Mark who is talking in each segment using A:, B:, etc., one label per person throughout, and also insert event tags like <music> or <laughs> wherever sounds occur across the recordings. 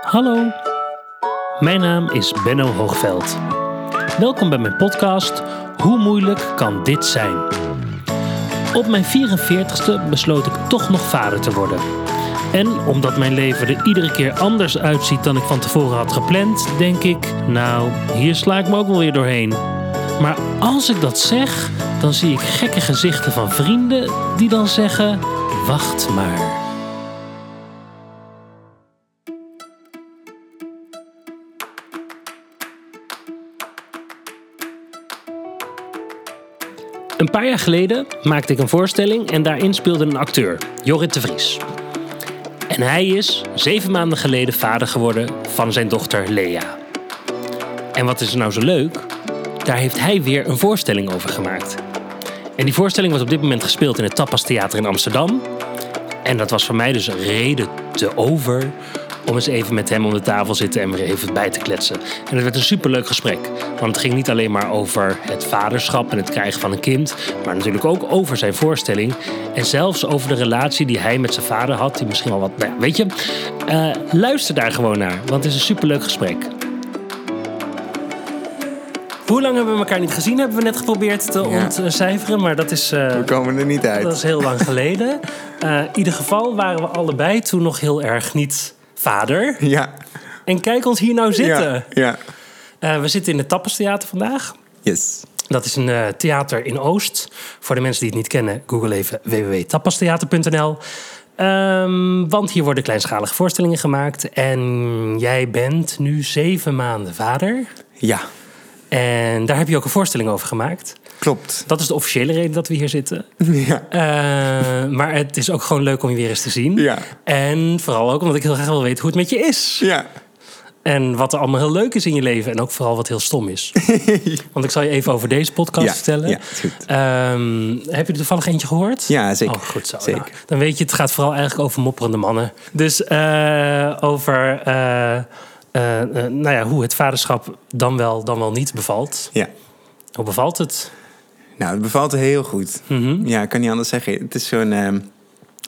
A: Hallo, mijn naam is Benno Hoogveld. Welkom bij mijn podcast Hoe moeilijk kan dit zijn? Op mijn 44ste besloot ik toch nog vader te worden. En omdat mijn leven er iedere keer anders uitziet dan ik van tevoren had gepland, denk ik, nou, hier sla ik me ook wel weer doorheen. Maar als ik dat zeg, dan zie ik gekke gezichten van vrienden die dan zeggen: wacht maar. Een paar jaar geleden maakte ik een voorstelling en daarin speelde een acteur, Jorrit de Vries. En hij is zeven maanden geleden vader geworden van zijn dochter Lea. En wat is er nou zo leuk? Daar heeft hij weer een voorstelling over gemaakt. En die voorstelling wordt op dit moment gespeeld in het Tapas Theater in Amsterdam. En dat was voor mij dus een reden te over om eens even met hem om de tafel zitten en weer even bij te kletsen. En het werd een superleuk gesprek. Want het ging niet alleen maar over het vaderschap en het krijgen van een kind, maar natuurlijk ook over zijn voorstelling. En zelfs over de relatie die hij met zijn vader had, die misschien al wat. nou ja, weet je, Eh, luister daar gewoon naar, want het is een superleuk gesprek. Hoe lang hebben we elkaar niet gezien? Hebben we net geprobeerd te
B: Ja.
A: ontcijferen, maar dat is. eh,
B: We komen er niet
A: dat
B: uit.
A: is heel lang geleden. Eh, in ieder geval waren we allebei toen nog heel erg niet vader.
B: Ja.
A: En kijk ons hier nou zitten.
B: Ja. ja.
A: Eh, we zitten in het Tappers Theater vandaag.
B: Yes.
A: Dat is een eh, theater in Oost. Voor de mensen die het niet kennen, google even www.tapastheater.nl. Ehm, want hier worden kleinschalige voorstellingen gemaakt. En jij bent nu zeven maanden vader.
B: Ja.
A: En daar heb je ook een voorstelling over gemaakt.
B: Klopt. <laughs>
A: Dat is de officiële reden dat we hier zitten.
B: Ja.
A: Eh, maar het is ook gewoon leuk om je weer eens te zien.
B: Ja.
A: En vooral ook omdat ik heel graag wil weten hoe het met je is.
B: Ja. <laughs>
A: En wat er allemaal heel leuk is in je leven. En ook vooral wat heel stom is. Want ik zal je even over deze podcast
B: Ja,
A: vertellen.
B: ja, is goed.
A: Ehm, heb je er toevallig eentje gehoord?
B: Ja, zeker.
A: Oh, goed zo.
B: Zeker.
A: Nou, dan weet je, het gaat vooral eigenlijk over mopperende mannen. Dus eh, over eh, eh, eh, nou ja, hoe het vaderschap dan wel, dan wel niet bevalt.
B: Ja.
A: Hoe bevalt het?
B: Nou, het bevalt heel goed.
A: Mhm.
B: Ja, ik kan niet anders zeggen. Het is zo'n... ehm,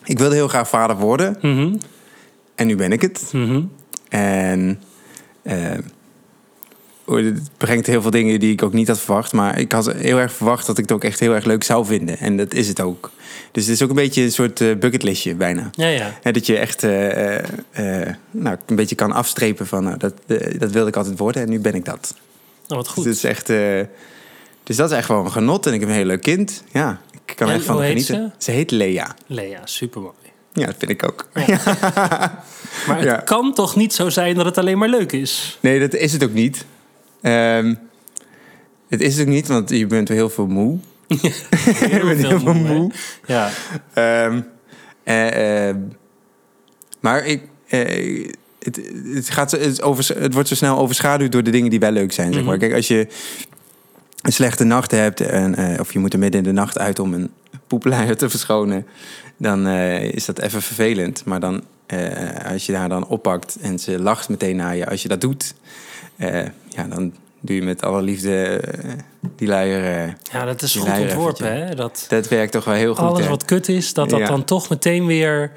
B: ik wilde heel graag vader worden.
A: Mhm.
B: En nu ben ik het. En... ehm, oh, dit brengt heel veel dingen die ik ook niet had verwacht. Maar ik had heel erg verwacht dat ik het ook echt heel erg leuk zou vinden. En dat is het ook. Dus het is ook een beetje een soort eh, bucketlistje bijna.
A: Ja, ja.
B: Hè, dat je echt eh, eh, eh, nou, een beetje kan afstrepen van... nou, dat, eh, dat wilde ik altijd worden en nu ben ik dat.
A: Nou, wat
B: Dus,
A: goed.
B: het is echt, eh, dus dat is echt gewoon een genot. En ik heb een heel leuk kind. Ja, ik kan er
A: En
B: echt van
A: hoe heet
B: genieten.
A: ze?
B: heet Lea.
A: Lea, supermooi.
B: Ja, dat vind ik ook.
A: Maar het
B: Ja.
A: kan toch niet zo zijn dat het alleen maar leuk
B: <laughs>
A: is?
B: Nee, dat is het ook niet. Ehm het is het ook niet, want je bent heel veel moe. <laughs>
A: Ik
B: bent heel veel moe.
A: hè? Ja.
B: Ehm, eh, ehm, maar ik, eh, het, het, gaat, zo- het, overs- het wordt zo snel overschaduwd door de dingen die wel leuk zijn. Zeg maar.
A: Mhm.
B: Kijk, als je een slechte nacht hebt, en, eh, of je moet er midden in de nacht uit om een poepleier te verschonen, dan eh, is dat even vervelend. Maar dan, eh, als je haar dan oppakt en ze lacht meteen naar je als je dat doet, eh, ja, dan doe je met alle liefde eh, die luier. eh,
A: ja, dat is
B: Die
A: goed
B: leier
A: ontworpen,
B: eventjes.
A: hè? Dat
B: dat werkt toch wel heel goed.
A: alles
B: hè?
A: wat kut is, dat dat
B: Ja.
A: dan toch meteen weer...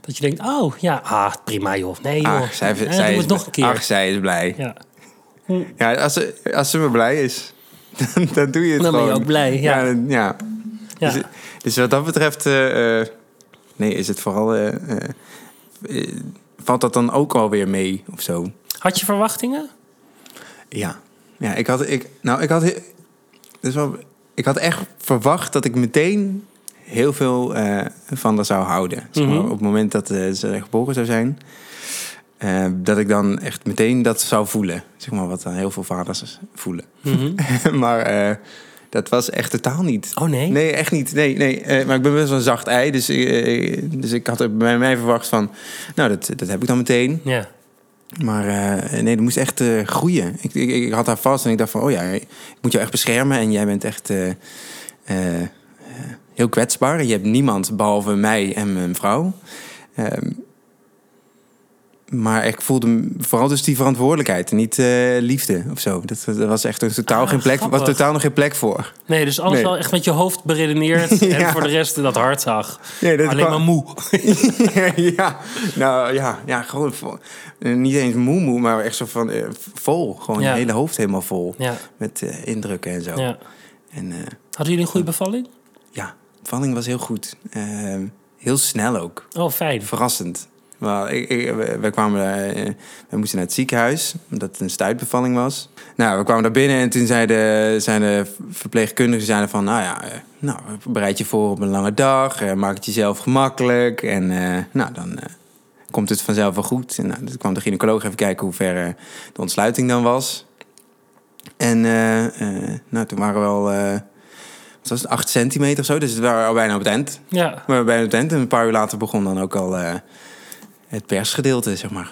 A: Dat je denkt, oh, ja, ah, prima joh. Nee joh,
B: Ach, zij,
A: Ja,
B: zij
A: doe
B: is,
A: het nog een keer.
B: Ach, zij is blij.
A: ja.
B: Ja, als ze, als ze maar blij is, <laughs> dan, dan doe je het
A: Dan ben je
B: gewoon.
A: ook blij, ja.
B: dan- ja.
A: Ja.
B: Dus, dus wat dat betreft... eh, eh, nee, is het vooral... eh, eh, eh, valt dat dan ook alweer mee of zo?
A: Had je verwachtingen?
B: Ja. Ja, ik had... Ik, nou, ik had... he- Dat is wel, ik had echt verwacht dat ik meteen heel veel eh, van haar zou houden. Zeg maar,
A: Mhm.
B: Op het moment dat eh, ze geboren zou zijn... eh, dat ik dan echt meteen dat zou voelen. Zeg maar, wat dan heel veel vaders voelen. <laughs> maar eh, dat was echt totaal niet.
A: Mhm. Oh nee?
B: Nee, echt niet. Nee, nee. Eh, maar ik ben best wel een zacht ei. Dus, eh, eh, dus ik had er bij mij verwacht van... Nou, dat, dat heb ik dan meteen.
A: Ja.
B: Maar eh, nee, dat moest echt eh, groeien. Ik, ik, ik had haar vast en ik dacht van... Oh ja, ik moet jou echt beschermen. En jij bent echt eh, eh, eh, heel kwetsbaar. En je hebt niemand behalve mij en mijn vrouw. Ehm, Maar ik voelde m- vooral dus die verantwoordelijkheid en niet eh, liefde of zo. Dat, dat was echt een totaal
A: Ah,
B: geen plek, was
A: grappig.
B: totaal nog geen plek voor.
A: Nee, dus alles
B: Nee.
A: wel echt met je hoofd beredeneerd.
B: <laughs>
A: En
B: Ja.
A: voor de rest dat hart zag.
B: Nee, dat
A: Alleen
B: kwam-
A: maar moe.
B: <laughs> ja, nou ja, ja gewoon vol- eh, niet eens moe moe, maar echt zo van eh, vol. Gewoon
A: Ja.
B: je hele hoofd helemaal vol
A: Ja,
B: met eh, indrukken en zo.
A: ja.
B: En eh,
A: Hadden jullie een goede bevalling?
B: ja, valling was heel goed. Ehm, heel snel ook.
A: Oh, fijn.
B: Verrassend. Wel, ik, ik, we- we kwamen daar, eh, we moesten naar het ziekenhuis, omdat het een stuitbevalling was. Nou, we kwamen daar binnen en toen zeiden, zeiden verpleegkundigen zeiden van... nou ja, eh, nou, bereid je voor op een lange dag, eh, maak het jezelf gemakkelijk... en eh, nou, dan eh, komt het vanzelf wel goed. En, nou, toen kwam de gynaecoloog even kijken hoe ver eh, de ontsluiting dan was. En eh, eh, nou, toen waren we al, eh, wat was het, 8 centimeter of zo, dus we waren al bijna op het eind.
A: Ja.
B: Maar bij de tent en een paar uur later begon dan ook al eh, het persgedeelte, zeg maar.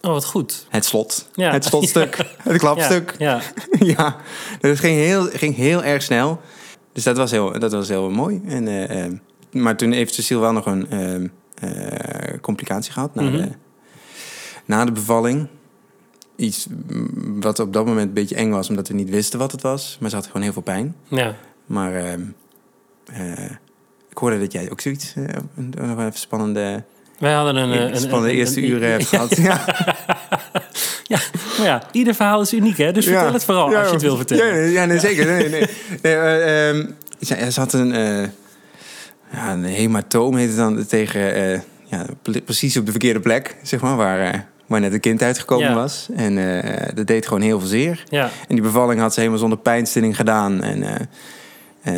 A: Oh, wat goed.
B: Het
A: <laughs>
B: slot.
A: Ja.
B: Het slotstuk. Het klapstuk.
A: Ja,
B: <laughs> Ja. Dus het ging heel, ging heel erg snel. Dus dat was heel, dat was heel mooi. En, eh, eh, maar toen heeft Cecile wel nog een ehm, eh, complicatie gehad na,
A: Mhm.
B: de, na de bevalling. Iets mm, wat op dat moment een beetje eng was, omdat we niet wisten wat het was. Maar ze had gewoon heel veel pijn.
A: ja.
B: Maar ehm, eh, ik hoorde dat jij ook zoiets, eh, een, nog wel even spannende,
A: Wij hadden een... eh, een-
B: spannende
A: een-
B: eerste
A: een- dus
B: uren
A: <laughs>
B: hebt gehad. Ja,
A: Maar ja, ieder verhaal is uniek, hè? Dus
B: Ja.
A: vertel het vooral
B: Ja,
A: als je het wil vertellen.
B: Ja, nee, ja, nee, zeker. Nee, nee. Nee, eh, ehm, ze, ze had een, eh, ja, een hematoom, heet het dan, tegen, eh, ja, ple- precies op de verkeerde plek, zeg maar, waar, eh, waar net een kind uitgekomen
A: Ja.
B: was. En eh, dat deed gewoon heel veel zeer.
A: Ja,
B: En die bevalling had ze helemaal zonder pijnstilling gedaan. En eh,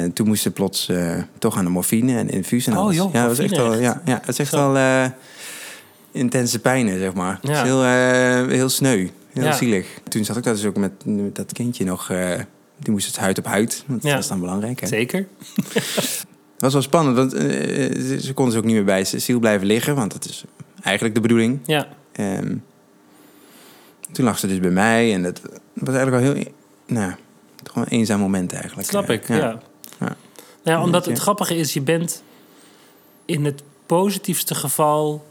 B: eh, toen moest ze plots eh, toch aan de morfine en infuus en
A: Oh,
B: alles.
A: joh,
B: ja, dat was echt
A: morfine
B: wel,
A: echt.
B: ja, ja, het is echt
A: Zo.
B: wel eh, intense pijnen, zeg maar.
A: Ja.
B: Het is heel, eh, heel sneu, heel
A: Ja.
B: zielig. Toen zat ik daar dus ook met, met dat kindje nog... eh, die moest het huid op huid, want
A: Ja.
B: dat is dan belangrijk. Hè?
A: zeker.
B: Het was wel spannend, want eh, ze, ze kon dus ook niet meer bij Cecile blijven liggen... want dat is eigenlijk de bedoeling.
A: Ja,
B: Ehm, toen lag ze dus bij mij en dat was eigenlijk wel heel... Nou, gewoon een eenzaam moment eigenlijk.
A: snap ik, ja.
B: Ja.
A: ja.
B: Ja.
A: Nou ja, omdat het
B: Ja.
A: grappige is, je bent... In het positiefste geval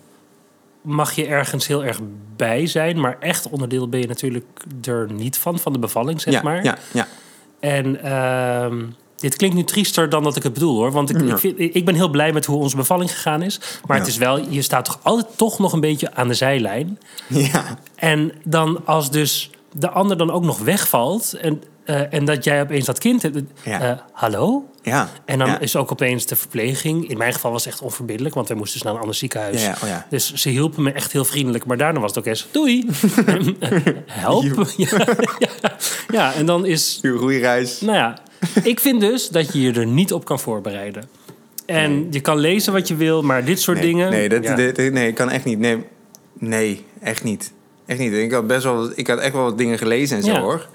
A: mag je ergens heel erg bij zijn. Maar echt onderdeel ben je natuurlijk er niet van, van de bevalling, zeg
B: ja,
A: maar.
B: Ja, ja. <laughs>
A: En ehm, dit klinkt nu triester dan dat ik het bedoel hoor. Want ik,
B: Ja.
A: ik, vind- ik ben heel blij met hoe onze bevalling gegaan is. Maar het
B: Ja.
A: is wel, je staat toch altijd toch nog een beetje aan de zijlijn.
B: Ja,
A: En dan als dus de ander dan ook nog wegvalt. En, eh, en dat jij opeens dat kind hebt.
B: Ja.
A: eh, hallo?
B: ja.
A: En dan
B: ja.
A: is ook opeens de verpleging. In mijn geval was het echt onverbiddelijk, want wij moesten dus naar een ander
B: Ja,
A: ziekenhuis.
B: ja, oh ja.
A: Dus ze hielpen me echt heel vriendelijk. Maar daarna was het ook eens,
B: <laughs>
A: doei, help. <laughs> Ja, ja. ja, en dan is
B: Uw roeireis.
A: nou ja, ik vind dus dat je je er niet op kan voorbereiden. En je kan lezen wat je wil, maar dit soort
B: Nee,
A: dingen.
B: Nee, dat,
A: ja.
B: dit- dit- nee, ik kan echt niet. Nee, nee echt niet. Echt niet. Ik had, best wel, wat- ik had echt wel wat dingen gelezen en zo
A: Ja.
B: hoor.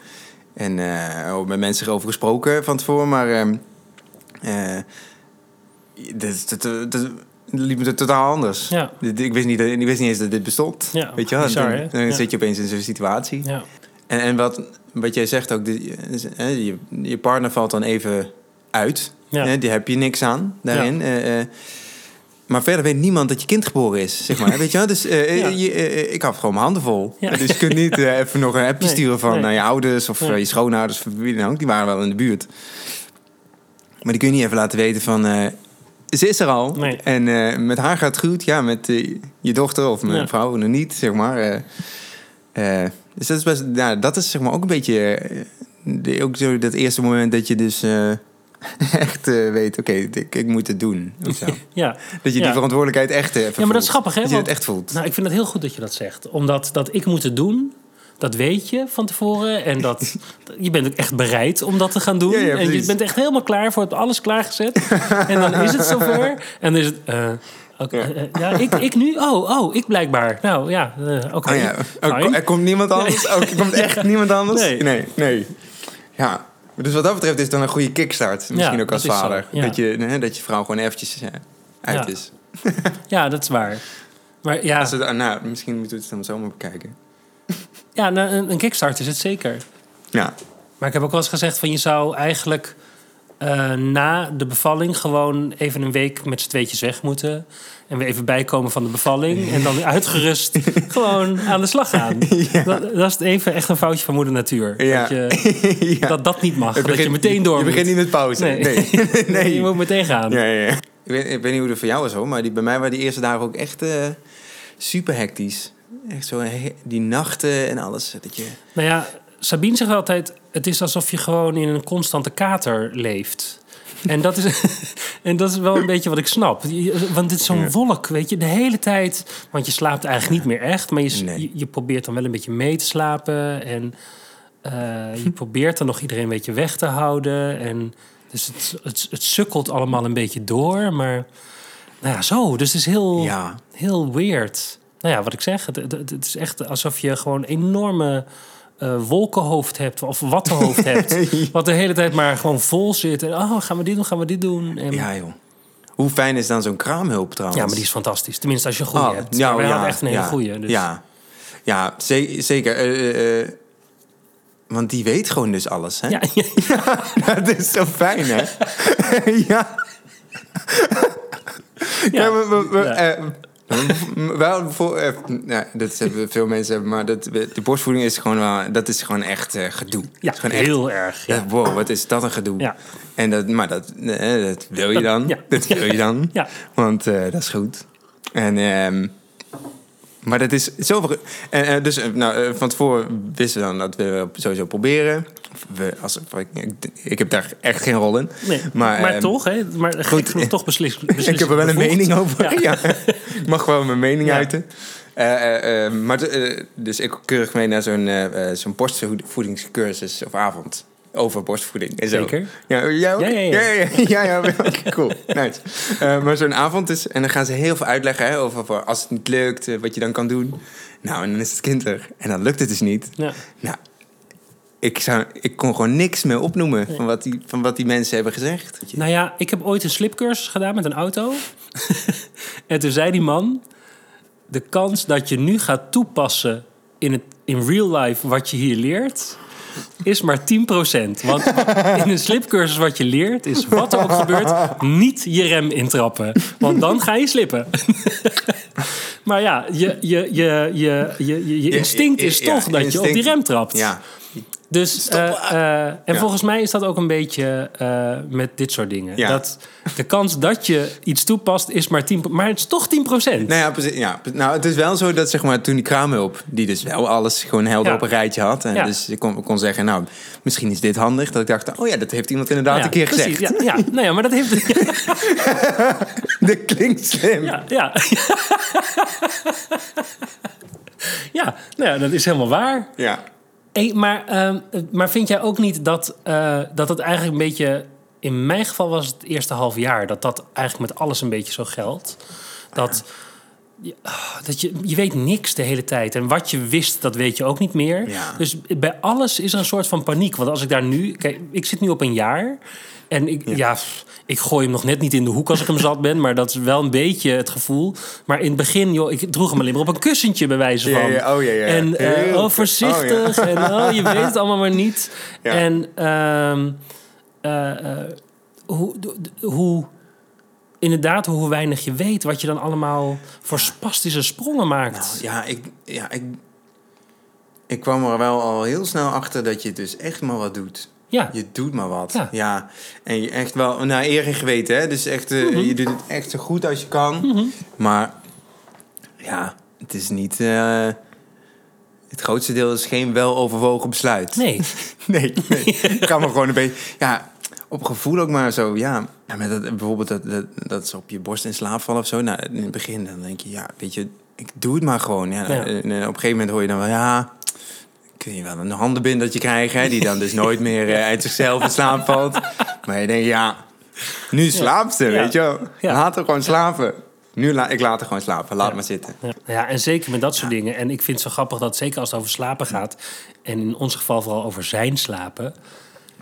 B: En eh, ook met mensen over gesproken van tevoren, maar. ehm, eh, dit- dit- dit- dit- liep het totaal anders.
A: Ja.
B: Dit- Ik wist, niet, dat- ik wist niet eens dat dit bestond.
A: Ja,
B: Weet je wel?
A: bizar, hè?
B: dan dan
A: Ja.
B: zit je opeens in zo'n situatie.
A: Ja.
B: En, en wat, wat jij zegt ook, die- eh, je, je partner valt dan even uit.
A: Ja.
B: Hè, die heb je niks aan daarin. Eh, eh, maar verder weet niemand dat je kind geboren is, zeg
A: <laughs>
B: maar. weet je wel? Dus eh,
A: Ja.
B: je- eh, ik had gewoon mijn handen vol.
A: Ja.
B: Dus je kunt niet eh, even nog een appje
A: Nee,
B: sturen van
A: nee.
B: naar je ouders... of
A: Nee.
B: eh, je schoonouders, of wie dan ook. Die waren wel in de buurt. Maar die kun je niet even laten weten van... eh, ze is er al.
A: Nee.
B: En eh, met haar gaat het goed. Ja, met eh, je dochter of mijn
A: Ja.
B: vrouw nog niet, zeg maar. Eh, eh, dus dat is best... Nou, dat is zeg maar ook een beetje... eh, de- ook zo dat eerste moment dat je dus... eh, <laughs> echt eh, weet, oké, ik, ik moet het doen.
A: <laughs>
B: of zo.
A: ja.
B: Dat je
A: Ja.
B: die verantwoordelijkheid echt hebt.
A: Ja, maar dat is grappig, hè,
B: Dat je het
A: want-
B: echt voelt.
A: Nou, ik vind het heel goed dat je dat zegt. Omdat dat ik moet het doen, dat weet je van tevoren. En
B: <laughs>
A: dat, je bent ook echt bereid om dat te gaan doen.
B: Ja, ja,
A: en je
B: precies.
A: bent echt helemaal klaar voor, hebt alles klaargezet. en dan is het zover. En dan is het. eh, oké,
B: Ja.
A: eh, eh, ja, ik, ik nu? Oh, oh, ik blijkbaar. Nou ja, eh, oké.
B: Oh ja. Ook-
A: fine.
B: er komt niemand anders. Ook,
A: <laughs>
B: er komt echt niemand anders.
A: Nee.
B: Nee. nee, Ja. Dus wat dat betreft is het dan een goede kickstart. Misschien
A: Ja,
B: ook als
A: dat is zo,
B: vader.
A: ja.
B: dat, je, hè, dat je vrouw gewoon eventjes eh, uit
A: Ja.
B: is.
A: Ja, dat is waar. Maar ja,
B: Als het, nou, misschien moeten we het dan zo maar bekijken.
A: ja nou, een, een kickstart is het zeker.
B: Ja.
A: Maar ik heb ook wel eens gezegd van je zou eigenlijk eh, na de bevalling gewoon even een week met z'n tweetjes weg moeten. En weer even bijkomen van de bevalling. En
B: <laughs>
A: dan weer uitgerust gewoon aan de slag gaan. Dat, dat is even echt een foutje van moeder natuur.
B: Ja.
A: Dat, je,
B: <laughs> Ja.
A: dat dat niet mag.
B: Het
A: dat je
B: begint-
A: meteen door
B: Je
A: moet.
B: begint niet met pauze.
A: <laughs> Nee.
B: Nee. <laughs> nee.
A: Je moet meteen gaan.
B: Ja, ja, ja. Ik, weet, ik weet niet hoe het voor jou was hoor, maar die, bij mij waren die eerste dagen ook echt eh, super hectisch. Echt zo, he- die nachten en alles. Dat je...
A: Nou ja, Sabine zegt altijd: het is alsof je gewoon in een constante kater leeft. En dat, is, <laughs> en dat is wel een beetje wat ik snap. Je- Want dit is zo'n
B: Ja.
A: wolk, weet je, de hele tijd. Want je slaapt eigenlijk niet meer echt, maar je, s-
B: Nee.
A: je, je probeert dan wel een beetje mee te slapen. En eh, je probeert dan nog iedereen een beetje weg te houden. En dus het, het, het sukkelt allemaal een beetje door. Maar nou ja, zo. Dus het is heel
B: Ja.
A: heel weird. Nou ja, wat ik zeg, het, het, het is echt alsof je gewoon een enorme eh, wolkenhoofd hebt of wattenhoofd
B: <laughs>
A: hebt. Wat de hele tijd maar gewoon vol zit. En oh, gaan we dit doen, gaan we dit doen. En, ja.
B: Ja joh. Hoe fijn is dan zo'n kraamhulp trouwens?
A: maar die is fantastisch. Tenminste, als je een goede
B: Oh,
A: hebt. Ja, wij hadden echt een hele
B: ja,
A: goede. Dus.
B: Ja, ja ze- zeker. eh, eh, eh. want die weet gewoon dus alles, hè?
A: <laughs> Ja, ja,
B: Dat is zo fijn,
A: <laughs>
B: hè? ja.
A: ja.
B: <laughs> Ja, we, we, we,
A: Ja.
B: eh, we hadden voor, eh, nou, dat hebben veel mensen hebben, maar dat, de borstvoeding is gewoon, wel- dat is gewoon echt eh, gedoe.
A: Ja,
B: Het is gewoon echt-
A: heel erg. Ja.
B: ja, wow, wat is dat een gedoe.
A: Ja.
B: En dat, maar dat, eh, dat wil je
A: Dat-
B: dan.
A: ja.
B: Dat wil je dan.
A: Ja.
B: Want eh, dat is goed. En, ehm, maar dat is zoveel... ge- En, eh, dus eh, nou, eh, van tevoren wisten we dan dat we sowieso proberen. Of We, als, ik, ik heb daar echt geen rol in.
A: Nee, maar
B: Maar, ehm,
A: toch, hè? Maar gek
B: goed.
A: genoeg toch beslis,
B: <laughs> ik heb er wel een mening over.
A: Ja.
B: Ja. ik mag wel mijn mening
A: Ja.
B: uiten. Eh, eh, eh, maar de- eh, dus ik keurig mee naar zo'n eh, eh, zo'n borstvoedingscursus of avond. Over borstvoeding en zo.
A: Zeker.
B: Ja, jij ook?
A: Ja, ja, ja.
B: ja, ja, ja, ja. Oké, <laughs> cool. Nice. Eh, maar zo'n avond is... En dan gaan ze heel veel uitleggen hè, over voor als het niet lukt, eh, wat je dan kan doen. Nou, en dan is het kind er. En dan lukt het dus niet.
A: Ja.
B: Nou, ik, zou, ik kon gewoon niks meer opnoemen van, wat die, van wat die mensen hebben gezegd.
A: Nou ja, ik heb ooit een slipcursus gedaan met een auto.
B: <laughs>
A: en toen zei die man... de kans dat je nu gaat toepassen in, het, in real life wat je hier leert... is maar 10%. Want in een slipcursus wat je leert is, wat er ook gebeurt... niet je rem intrappen. Want dan ga je slippen. <laughs> maar ja, je, je, je, je, je, je, je instinct is
B: Ja,
A: toch dat je op die
B: instinct.
A: rem trapt.
B: Ja,
A: Dus, eh, eh, en
B: Ja.
A: volgens mij is dat ook een beetje eh, met dit soort dingen.
B: Ja.
A: Dat de kans dat je iets toepast is maar 10%. Maar het is toch 10%.
B: Nou ja, precies, ja, nou, het is wel zo dat zeg maar, toen die kraamhulp, die dus wel alles gewoon helder
A: Ja.
B: op een rijtje had. En
A: Ja.
B: dus ik kon, kon zeggen, nou, misschien is dit handig. Dat ik dacht, oh ja, dat heeft iemand inderdaad
A: Nou ja,
B: een keer
A: precies,
B: gezegd.
A: Ja, ja, nou ja, maar dat heeft. Ja,
B: <laughs> Dat klinkt slim.
A: ja, ja. <laughs> Ja, nou ja, dat is helemaal waar.
B: Ja.
A: Hey, maar, ehm, maar vind jij ook niet dat, eh, dat het eigenlijk een beetje... In mijn geval was het eerste half jaar... dat dat eigenlijk met alles een beetje zo geldt. Dat, je- ah, dat je, je weet niks de hele tijd. En wat je wist, dat weet je ook niet meer.
B: Ja.
A: Dus bij alles is er een soort van paniek. Want als ik daar nu... Kijk, ik zit nu op een jaar. En ik, ja. pff, ik gooi hem nog net niet in de hoek als ik hem zat ben. Maar dat is wel een beetje het gevoel. Maar in het begin, joh, ik droeg hem alleen maar op een kussentje bij wijze
B: Ja,
A: van.
B: ja, oh, ja, ja.
A: En eh,
B: Heel
A: oh, voorzichtig. En oh, je weet het allemaal maar niet.
B: Ja.
A: En ehm, eh, eh, hoe, d- d- hoe... Inderdaad, hoe weinig je weet. Wat je dan allemaal voor spastische sprongen maakt.
B: Nou, Ja, ik, ja ik, ik kwam er wel al heel snel achter dat je dus echt maar wat doet.
A: ja.
B: Je doet maar wat.
A: Ja.
B: Ja. En je echt wel naar eer en geweten, hè? Dus echt,
A: Mhm.
B: eh, je doet het echt zo goed als je kan. Maar ja, het is niet. eh, het grootste deel is geen weloverwogen besluit. <laughs>
A: Nee.
B: nee. nee. Ik ga maar gewoon een beetje. Ja, op gevoel ook maar zo. Ja, ja met dat, bijvoorbeeld dat, dat, dat ze op je borst in slaap vallen of zo. Nou, in het begin dan denk je, ja, weet je, ik doe het maar gewoon. Ja,
A: Ja.
B: En, eh, op een gegeven moment hoor je dan wel, ja. Kun je wel een handenbindertje krijgen, hè, die dan dus nooit meer eh, uit zichzelf in slaap valt. Maar je denkt, ja, nu slaapt ze,
A: Ja.
B: weet je wel.
A: Ja.
B: Laat haar gewoon slapen. Nu la ik laat haar gewoon slapen, laat maar zitten.
A: Ja, ja, en zeker met dat soort dingen. En ik vind het zo grappig dat zeker als het over slapen gaat... en in ons geval vooral over zijn slapen...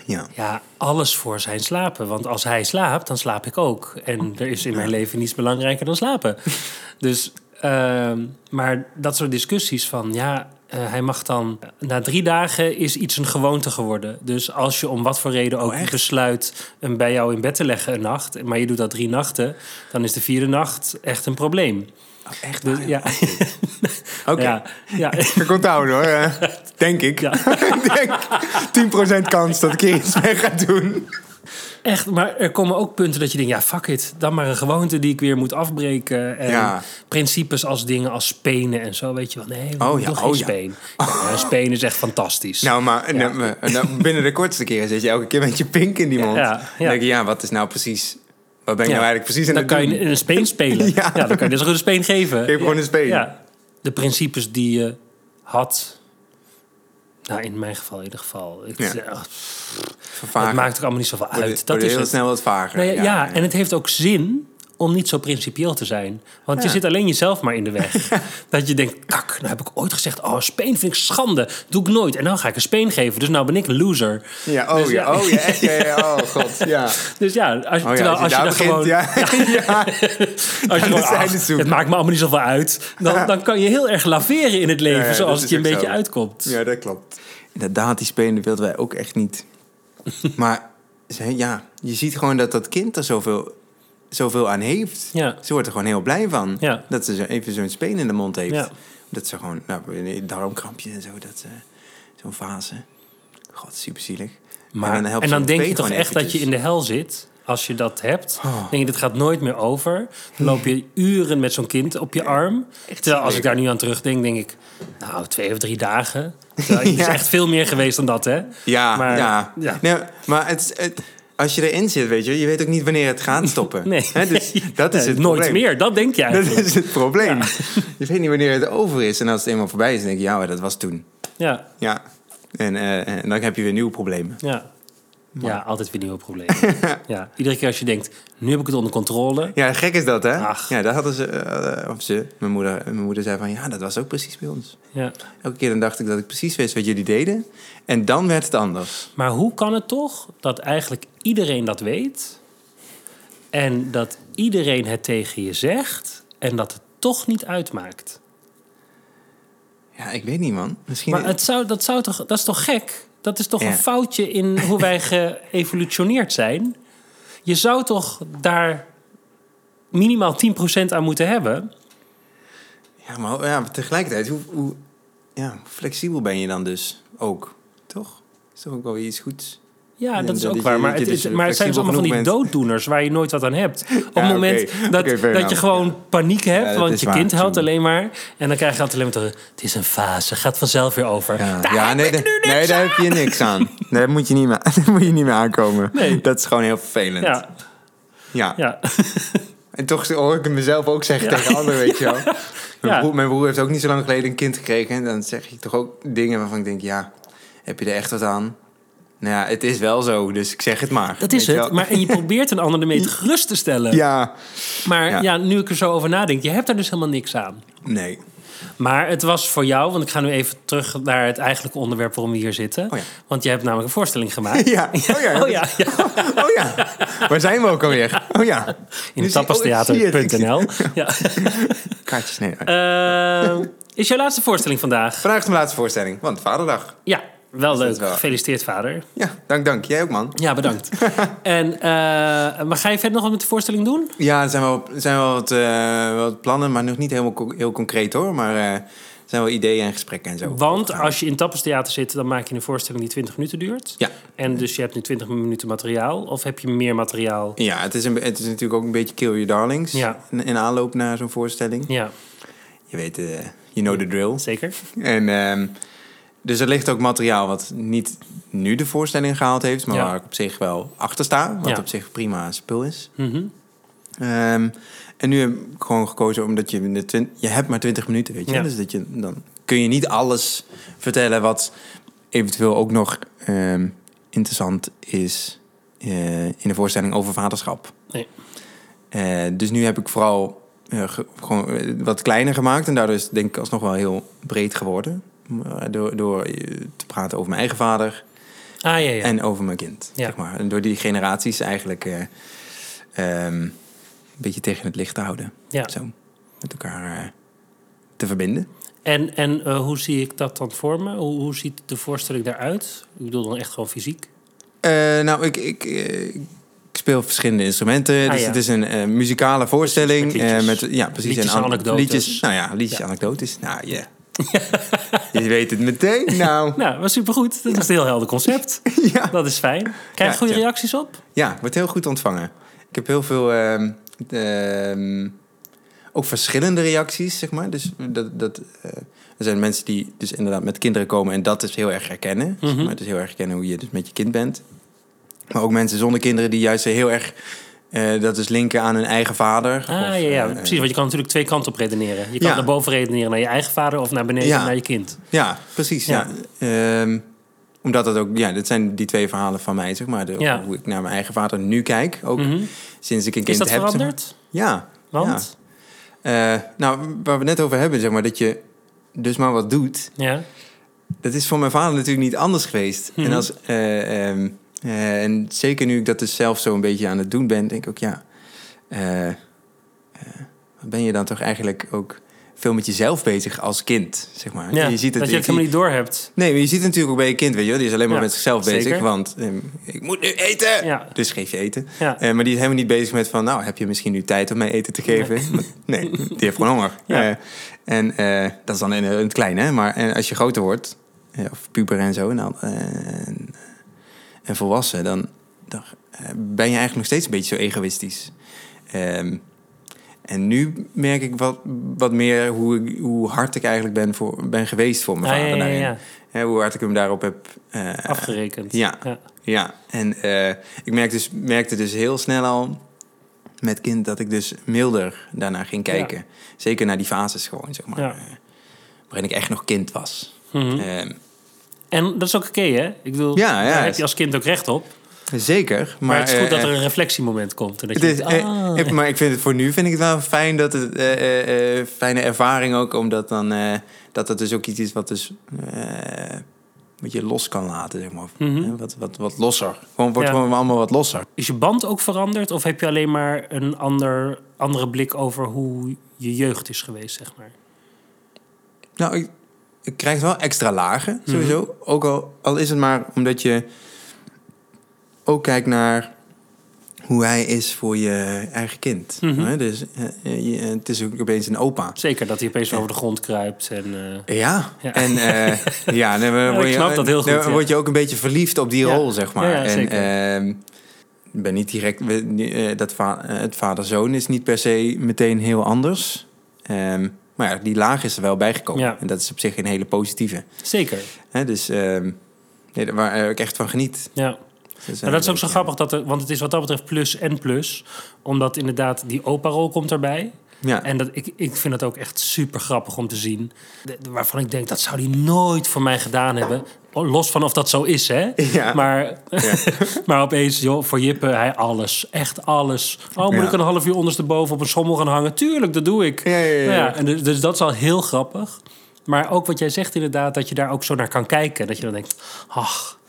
B: Ja.
A: ja, alles voor zijn slapen. Want als hij slaapt, dan slaap ik ook. En er is in mijn leven niets
B: <laughs>
A: belangrijker dan slapen. Dus, ehm, maar dat soort discussies van, ja, eh, hij mag dan... Na drie dagen is iets een gewoonte geworden. Dus als je om wat voor reden ook
B: Oh, echt?
A: besluit... hem bij jou in bed te leggen een nacht... maar je doet dat drie nachten... dan is de vierde nacht echt een probleem.
B: Oh, echt?
A: Dus, ja,
B: <laughs> Oké.
A: ja, ja,
B: <laughs> Ik onthouden hoor.
A: <laughs>
B: eh, Denk ik.
A: Ja.
B: <laughs> Ik Denk 10% kans dat ik hier iets mee ga doen.
A: echt. Maar er komen ook punten dat je denkt... ja, fuck it, dan maar een gewoonte die ik weer moet afbreken. En
B: Ja.
A: principes als dingen als spenen en zo, weet je wel. Nee, we
B: Oh
A: oh,
B: ja,
A: ja, geen
B: oh ja.
A: speen. Ja, een speen is echt fantastisch.
B: Nou, maar nou, eh, nou, binnen de kortste keer zit je elke keer met je pink in die mond.
A: ja,
B: Dan
A: ja.
B: denk je, ja, wat is nou precies... Wat ben ik
A: Ja.
B: nou eigenlijk precies aan
A: Dan
B: het
A: kan
B: doen?
A: je een
B: <laughs>
A: speen spelen.
B: Ja.
A: ja. dan kan je dus gewoon een speen geven.
B: Geef gewoon een speen.
A: Ja. De principes die je had. Nou, in mijn geval in ieder geval. Het,
B: Ja.
A: eh,
B: Vervagen.
A: het maakt ook allemaal niet zoveel
B: Wordt-
A: uit. Dat
B: wordt
A: is
B: heel
A: het.
B: snel wat vager.
A: Nou ja, ja, en het heeft ook zin om niet zo principieel te zijn. Want
B: Ja.
A: je zit alleen jezelf maar in de weg.
B: <laughs>
A: dat je denkt, kak, nou heb ik ooit gezegd... oh, een speen vind ik schande, doe ik nooit. En nou ga ik een speen geven, dus nou ben ik een loser.
B: Ja, oh
A: Dus
B: ja,
A: ja.
B: oh ja, echt, ja, ja, oh god, ja.
A: <laughs> Dus ja, als,
B: Oh,
A: <laughs>
B: ja
A: terwijl als je, daar
B: daar begint,
A: gewoon...
B: ja.
A: <laughs>
B: ja. <laughs>
A: Als je
B: Aan de
A: gewoon,
B: zijde
A: "Ach,
B: zoekt."
A: het maakt me allemaal niet zoveel uit. Dan, dan kan je heel erg laveren in het leven,
B: Ja, ja, dat
A: zoals het
B: is
A: je een
B: ook
A: beetje
B: zo.
A: uitkomt.
B: Ja, dat klopt. Inderdaad, die spelen wilden wij ook echt <laughs> niet. maar ze- ja, je ziet gewoon dat dat kind er zoveel, zoveel aan heeft.
A: Ja.
B: Ze wordt er gewoon heel blij van.
A: Ja.
B: Dat ze zo even zo'n speen in de mond heeft.
A: Ja.
B: Dat ze gewoon, nou, een darmkrampje en zo, dat ze, zo'n fase. God, superzielig.
A: Maar, en dan,
B: helpt ze een
A: denk je
B: speen
A: toch echt
B: gewoon
A: dat je
B: eventjes.
A: in de hel zit, als je dat hebt.
B: Oh.
A: denk je, dit gaat nooit meer over. Dan loop je uren met zo'n kind op je arm. Terwijl als ik daar nu aan terugdenk, denk ik... nou, twee of drie dagen. Terwijl,
B: <laughs>
A: Het is
B: Ja.
A: echt veel meer geweest dan dat, hè?
B: Ja,
A: Maar,
B: ja.
A: ja.
B: Nee, maar het, is- het- als je erin zit, weet je, je weet ook niet wanneer het gaat
A: <laughs>
B: stoppen.
A: Nee,
B: Hè, dus
A: nee.
B: dat is
A: Nee,
B: het
A: Nooit
B: probleem.
A: meer, dat denk je
B: Dat
A: eigenlijk.
B: is het probleem. Je weet niet wanneer het over is. En als het eenmaal voorbij is, dan denk je, ja, maar dat was toen.
A: Ja,
B: Ja. En, eh, en dan heb je weer nieuwe problemen.
A: ja. Ja, altijd weer nieuwe
B: <laughs>
A: problemen. ja. Iedere keer als je denkt, nu heb ik het onder controle...
B: Ja, gek is dat, hè?
A: Ach.
B: Ja, daar hadden ze, eh, of ze, mijn moeder, mijn moeder zei van, ja, dat was ook precies bij ons.
A: Ja.
B: Elke keer dan dacht ik dat ik precies wist wat jullie deden. En dan werd het anders.
A: Maar hoe kan het toch dat eigenlijk iedereen dat weet en dat iedereen het tegen je zegt en dat het toch niet uitmaakt?
B: Ja, ik weet niet, man. Misschien...
A: Maar het zou, dat, zou toch, dat is toch gek? Dat is toch
B: Ja.
A: een foutje in hoe wij geëvolutioneerd zijn? Je zou toch daar minimaal 10% aan moeten hebben?
B: Ja, maar ho- ja, tegelijkertijd, hoe, hoe ja, hoe flexibel ben je dan dus ook, toch? Is toch ook wel weer iets goeds?
A: Ja,
B: Ja,
A: dat is
B: dat
A: ook
B: je-
A: waar. Maar
B: dat
A: het,
B: je
A: is-
B: dus
A: maar het zijn dus
B: flexibel
A: allemaal van die
B: genoeg
A: dooddoeners waar je nooit wat aan hebt. Op
B: Ja,
A: het moment
B: oké.
A: dat,
B: Oké, fair
A: dat je
B: enough.
A: gewoon paniek hebt,
B: dat is
A: want je
B: waar,
A: kind huilt
B: Jimmy.
A: alleen maar. En dan krijg je altijd alleen maar terug. Het is een fase, gaat vanzelf weer over.
B: Ja,
A: Daar
B: ja,
A: heb
B: nee,
A: ik
B: daar-
A: nu niks
B: nee, daar heb je niks aan. Nee, daar moet je niet meer, <laughs> daar moet je niet meer aankomen.
A: Nee.
B: Dat is gewoon heel vervelend.
A: Ja,
B: Ja.
A: ja.
B: En toch hoor ik het mezelf ook zeggen tegen anderen,
A: <laughs>
B: weet je wel. Mijn,
A: Ja.
B: broer, mijn broer heeft ook niet zo lang geleden een kind gekregen. En dan zeg ik toch ook dingen waarvan ik denk, ja, heb je er echt wat aan? Nou ja, het is wel zo, dus ik zeg het maar.
A: dat is
B: weet je
A: het.
B: wel.
A: Maar, en je probeert een ander ermee gerust te stellen.
B: Ja,
A: Maar
B: Ja.
A: ja. nu ik er zo over nadenk, je hebt daar dus helemaal niks aan.
B: nee. <laughs>
A: Maar het was voor jou, want ik ga nu even terug naar het eigenlijke onderwerp waarom we hier zitten.
B: Oh ja.
A: Want je hebt namelijk een voorstelling gemaakt.
B: <laughs> Ja, oh ja.
A: Oh ja, ja.
B: Oh ja, waar zijn we ook alweer? Oh ja. Nu
A: <laughs> In
B: zie- oh, ik zie het, ik
A: tapastheater.nl.
B: <laughs>
A: Ja.
B: zie- Kaartjes, nee.
A: Eh, is jouw laatste voorstelling vandaag?
B: Vandaag is mijn laatste voorstelling, want vaderdag.
A: Ja, wel
B: dat
A: leuk.
B: wel?
A: Gefeliciteerd, vader.
B: Ja, dank, dank. Jij ook, man.
A: Ja, bedankt. <laughs> en eh, maar ga je verder nog wat met de voorstelling doen?
B: Ja, er zijn wel, er zijn wel wat, eh, wat plannen, maar nog niet helemaal co- heel concreet hoor. Maar eh, er zijn wel ideeën en gesprekken en zo.
A: Want als je in tapastheater zit, dan maak je een voorstelling die 20 minuten duurt.
B: Ja.
A: En dus je hebt nu 20 minuten materiaal. Of heb je meer materiaal?
B: Ja, het is, een, be- het is natuurlijk ook een beetje Kill Your Darlings.
A: Ja.
B: In, in aanloop naar zo'n voorstelling.
A: Ja,
B: Je weet, eh you know the drill.
A: zeker.
B: En, ehm, dus er ligt ook materiaal wat niet nu de voorstelling gehaald heeft, maar
A: Ja.
B: waar ik op zich wel achter sta. Wat
A: Ja.
B: op zich prima spul is.
A: Mhm.
B: Ehm, en nu heb ik gewoon gekozen omdat je, in de twin- je hebt maar 20 minuten, weet je.
A: Ja.
B: Dus dat je, dan kun je niet alles vertellen wat eventueel ook nog ehm, interessant is eh, in de voorstelling over vaderschap.
A: Nee.
B: Eh, dus nu heb ik vooral eh, ge- gewoon eh, wat kleiner gemaakt en daardoor is het denk ik alsnog wel heel breed geworden. Maar Door, door eh, te praten over mijn eigen vader,
A: Ah, ja, ja.
B: en over mijn kind.
A: Ja.
B: Zeg maar. En door die generaties eigenlijk eh, ehm, een beetje tegen het licht te houden.
A: ja.
B: Zo, met elkaar eh, te verbinden.
A: En, en eh, hoe zie ik dat dan voor me? Hoe, hoe ziet de voorstelling daaruit? Ik bedoel dan echt gewoon fysiek.
B: Eh, nou, ik, ik, eh, ik speel verschillende instrumenten.
A: Ah,
B: dus
A: ja. Dus
B: het is een eh, muzikale voorstelling.
A: met liedjes.
B: eh, met, ja, precies.
A: Liedjes en
B: an-
A: anekdotes.
B: Liedjes, nou ja, liedjes
A: Ja.
B: anekdotes.
A: <laughs>
B: Nou, ja. Je weet het meteen. Nou,
A: Nou, was supergoed. Dat is een heel helder <laughs> concept.
B: ja.
A: Dat is fijn. Krijg je
B: Ja,
A: goede
B: ja.
A: reacties op?
B: Ja, wordt heel goed ontvangen. Ik heb heel veel... ehm, ehm, ook verschillende reacties, zeg maar. Dus dat, dat, eh, er zijn mensen die dus inderdaad met kinderen komen... en dat dus heel erg herkennen. zeg
A: Mhm.
B: maar. Het is heel erg herkennen hoe je dus met je kind bent. Maar ook mensen zonder kinderen die juist heel erg... eh, dat is linken aan hun eigen vader.
A: Ah,
B: Of,
A: ja, ja,
B: eh,
A: precies. Want je kan natuurlijk twee kanten op redeneren. Je kan
B: Ja.
A: naar boven redeneren naar je eigen vader of naar beneden
B: Ja.
A: naar je kind.
B: Ja, precies. Ja. Ehm, omdat dat ook, ja, dat zijn die twee verhalen van mij, zeg maar. De,
A: Ja. Mhm.
B: Hoe ik naar mijn eigen vader nu kijk, ook sinds ik een kind
A: Is dat
B: heb. zeg maar.
A: veranderd?
B: Ja.
A: Want?
B: ja. Eh, nou, waar we het net over hebben, zeg maar, dat je dus maar wat doet.
A: Ja.
B: Dat is voor mijn vader natuurlijk niet anders geweest.
A: Mhm.
B: En, als, eh, ehm, eh, en zeker nu ik dat dus zelf zo een beetje aan het doen ben, denk ik ook, ja... eh, eh, wat ben je dan toch eigenlijk ook veel met jezelf bezig als kind, zeg maar.
A: Ja,
B: Je ziet
A: dat
B: het,
A: je
B: ik
A: het
B: zie-
A: helemaal niet doorhebt.
B: Nee, maar je ziet het natuurlijk ook bij je kind, weet je wel. Die is alleen maar
A: Ja,
B: met zichzelf
A: zeker.
B: bezig, want ehm, ik moet nu eten.
A: Ja.
B: Dus geef je eten.
A: Ja.
B: Eh, maar die is helemaal niet bezig met van, nou, heb je misschien nu tijd om mij eten te geven?
A: <laughs>
B: Nee, die heeft gewoon honger.
A: Ja.
B: Eh, en eh, dat is dan in, in het klein, hè. Maar en als je groter wordt, eh, of puber en zo, nou, eh, en, en volwassen, dan, dan eh, ben je eigenlijk nog steeds een beetje zo egoïstisch. Ehm, en nu merk ik wat, wat meer hoe, ik- hoe hard ik eigenlijk ben, voor, ben geweest voor mijn
A: Ah, ja,
B: vader.
A: ja, ja,
B: daarin.
A: ja.
B: Hè, hoe hard ik hem daarop heb eh,
A: Afgerekend.
B: ja. ja, en eh, ik merk dus, merkte dus heel snel al met kind dat ik dus milder daarna ging kijken. Zeker naar die fases gewoon, zeg maar.
A: Ja. Mhm. Hm.
B: eh, waarin ik echt nog kind was. Ehm,
A: En dat is ook oké, hè? Ik bedoel,
B: Ja, ja.
A: daar heb je als kind ook recht op. Maar,
B: zeker, maar...
A: het is goed
B: eh,
A: dat er een reflectiemoment komt. En dat
B: Het
A: je
B: is,
A: denkt,
B: eh,
A: ah.
B: eh, maar ik vind het voor nu vind ik het wel fijn dat het eh, eh, eh, fijne ervaring ook, omdat dan eh, dat het dus ook iets is wat dus eh, wat je los kan laten, zeg maar. Eh, Wat, wat, wat losser. Gewoon wordt
A: Hm. Ja.
B: gewoon allemaal wat losser.
A: Mhm. Is je band ook veranderd? Of heb je alleen maar een ander, andere blik over hoe je jeugd is geweest, zeg maar?
B: Nou, ik, ik krijg wel extra lagen, sowieso.
A: Mhm.
B: Ook al, al is het maar omdat je ook kijkt naar hoe hij is voor je eigen kind.
A: Mhm.
B: Hè? Dus eh, eh, je- het is ook opeens een opa.
A: Zeker dat hij opeens
B: Eh.
A: weer over de grond kruipt. En, eh,
B: Ja,
A: Ja.
B: en
A: <laughs>
B: eh, ja, dan
A: ik
B: word, je, eh,
A: snap dat heel goed,
B: dan
A: ja.
B: word je ook een beetje verliefd op die
A: Ja.
B: rol, zeg maar.
A: Ja, ja,
B: en
A: zeker.
B: ehm, ik ben niet direct, we- ni- eh, dat va- eh, het vader-zoon is niet per se meteen heel anders. Ehm, maar ja, die laag is er wel bijgekomen.
A: Ja.
B: En dat is op zich een hele positieve.
A: zeker,
B: Hè? Dus ehm, nee, daar- waar eh, ik echt van geniet.
A: ja.
B: Dus, eh,
A: Maar dat is ook zo
B: ja.
A: grappig, dat er, want het is wat dat betreft plus en plus. Omdat inderdaad die opa-rol komt erbij.
B: Ja.
A: En dat, ik, ik vind dat ook echt super grappig om te zien. De- de- waarvan ik denk, dat zou die nooit voor mij gedaan hebben. Oh, Los van of dat zo is, hè?
B: Ja.
A: Maar, <laughs> maar opeens, joh, voor Jippe, hij alles. Echt alles. Oh, moet
B: Ja.
A: ik een half uur ondersteboven op een schommel gaan hangen? Tuurlijk, dat doe ik.
B: Ja, ja, ja,
A: Nou
B: ja.
A: en dus, dus dat is al heel grappig. Maar ook wat jij zegt inderdaad, dat je daar ook zo naar kan kijken. Dat je dan denkt, ach,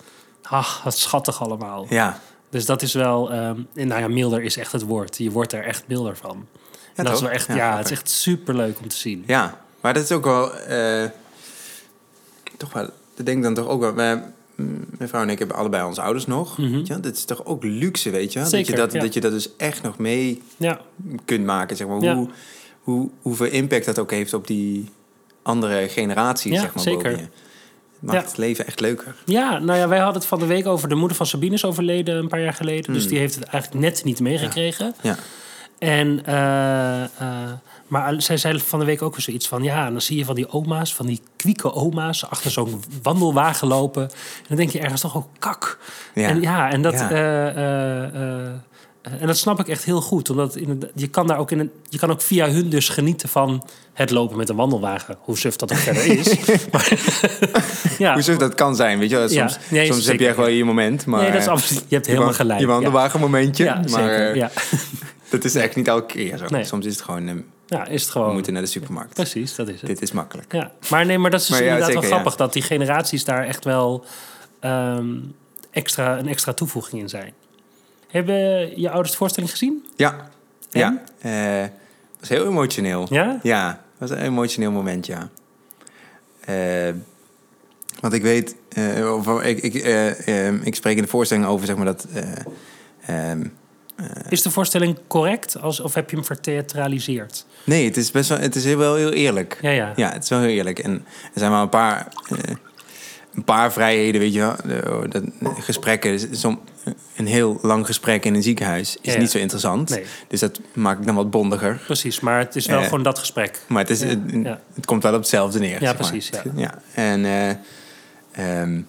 A: ach wat schattig allemaal.
B: ja.
A: Dus dat is wel, ehm, en nou ja, milder is echt het woord. Je wordt er echt milder van. en dat is
B: toch?
A: wel echt, ja,
B: Ja,
A: het is echt super leuk om te zien.
B: Ja, maar dat is ook wel. eh, toch wel. Dat denk ik dan toch ook wel. Wij, mm, mijn vrouw en ik hebben allebei onze ouders nog. weet je wel. Dat is toch ook luxe, weet je wel? dat
A: Mhm. Zeker,
B: je dat,
A: ja.
B: dat je dat dus echt nog mee
A: Ja,
B: kunt maken. Zeg maar.
A: Ja.
B: Hoe, hoe, hoeveel impact dat ook heeft op die andere generatie,
A: Ja,
B: zeg maar.
A: zeker.
B: boven je. Het maakt
A: Ja.
B: het leven echt leuker.
A: ja, nou ja, wij hadden het van de week over de moeder van Sabine is overleden een paar jaar geleden. Dus die heeft het eigenlijk net niet meegekregen.
B: Ja.
A: En, eh, eh, maar zij zei van de week ook weer zoiets van... ja, en dan zie je van die oma's, van die kwieke oma's... achter zo'n wandelwagen lopen. En dan denk je ergens toch ook kak.
B: Ja.
A: En ja, en dat,
B: Ja.
A: eh, eh, eh, eh, en dat snap ik echt heel goed. Omdat inderdaad- je kan, daar ook in een, je kan ook via hun dus genieten van het lopen met een wandelwagen. Hoe suf dat ook verder is.
B: <laughs>
A: Maar- <laughs> ja.
B: Hoezo dat kan zijn, weet je wel?
A: Ja.
B: Soms,
A: Nee,
B: soms heb
A: zeker.
B: je echt wel je moment. Maar
A: nee, dat is
B: eh,
A: absoluut, je hebt
B: je
A: helemaal
B: wand-
A: gelijk.
B: Je
A: ja.
B: wandelwagenmomentje.
A: Ja,
B: maar
A: zeker.
B: eh,
A: Ja.
B: dat is echt niet elke keer zo.
A: Nee.
B: Soms is het gewoon, eh,
A: ja, is het
B: we
A: gewoon...
B: moeten naar de supermarkt.
A: Precies, dat is het.
B: Dit is makkelijk.
A: Ja, maar nee, maar dat is dus
B: Maar ja,
A: inderdaad wel
B: zeker, ja.
A: grappig dat die generaties daar echt wel ehm, extra, een extra toevoeging in zijn. Hebben je ouders de voorstelling gezien?
B: Ja.
A: En?
B: Ja. Eh, was heel emotioneel.
A: Ja?
B: was een emotioneel moment, ja. eh, want ik weet, eh, of, ik, ik, eh, eh, ik spreek in de voorstelling over zeg maar dat. eh, ehm,
A: Is de voorstelling correct als, of heb je hem vertheatraliseerd?
B: nee, het is best wel, het is heel, wel heel eerlijk.
A: Ja, ja.
B: Ja, het is wel heel eerlijk. En er zijn wel een paar, eh, een paar vrijheden, weet je wel. De- oh, dat, gesprekken, som, een heel lang gesprek in een ziekenhuis is
A: Ja, ja.
B: niet zo interessant.
A: Nee.
B: Dus dat maak ik dan wat bondiger.
A: Precies, maar het is wel
B: Eh.
A: gewoon dat gesprek.
B: Maar het, is, het,
A: ja.
B: het komt wel op hetzelfde neer. zeg maar.
A: precies, ja.
B: En, eh, ehm,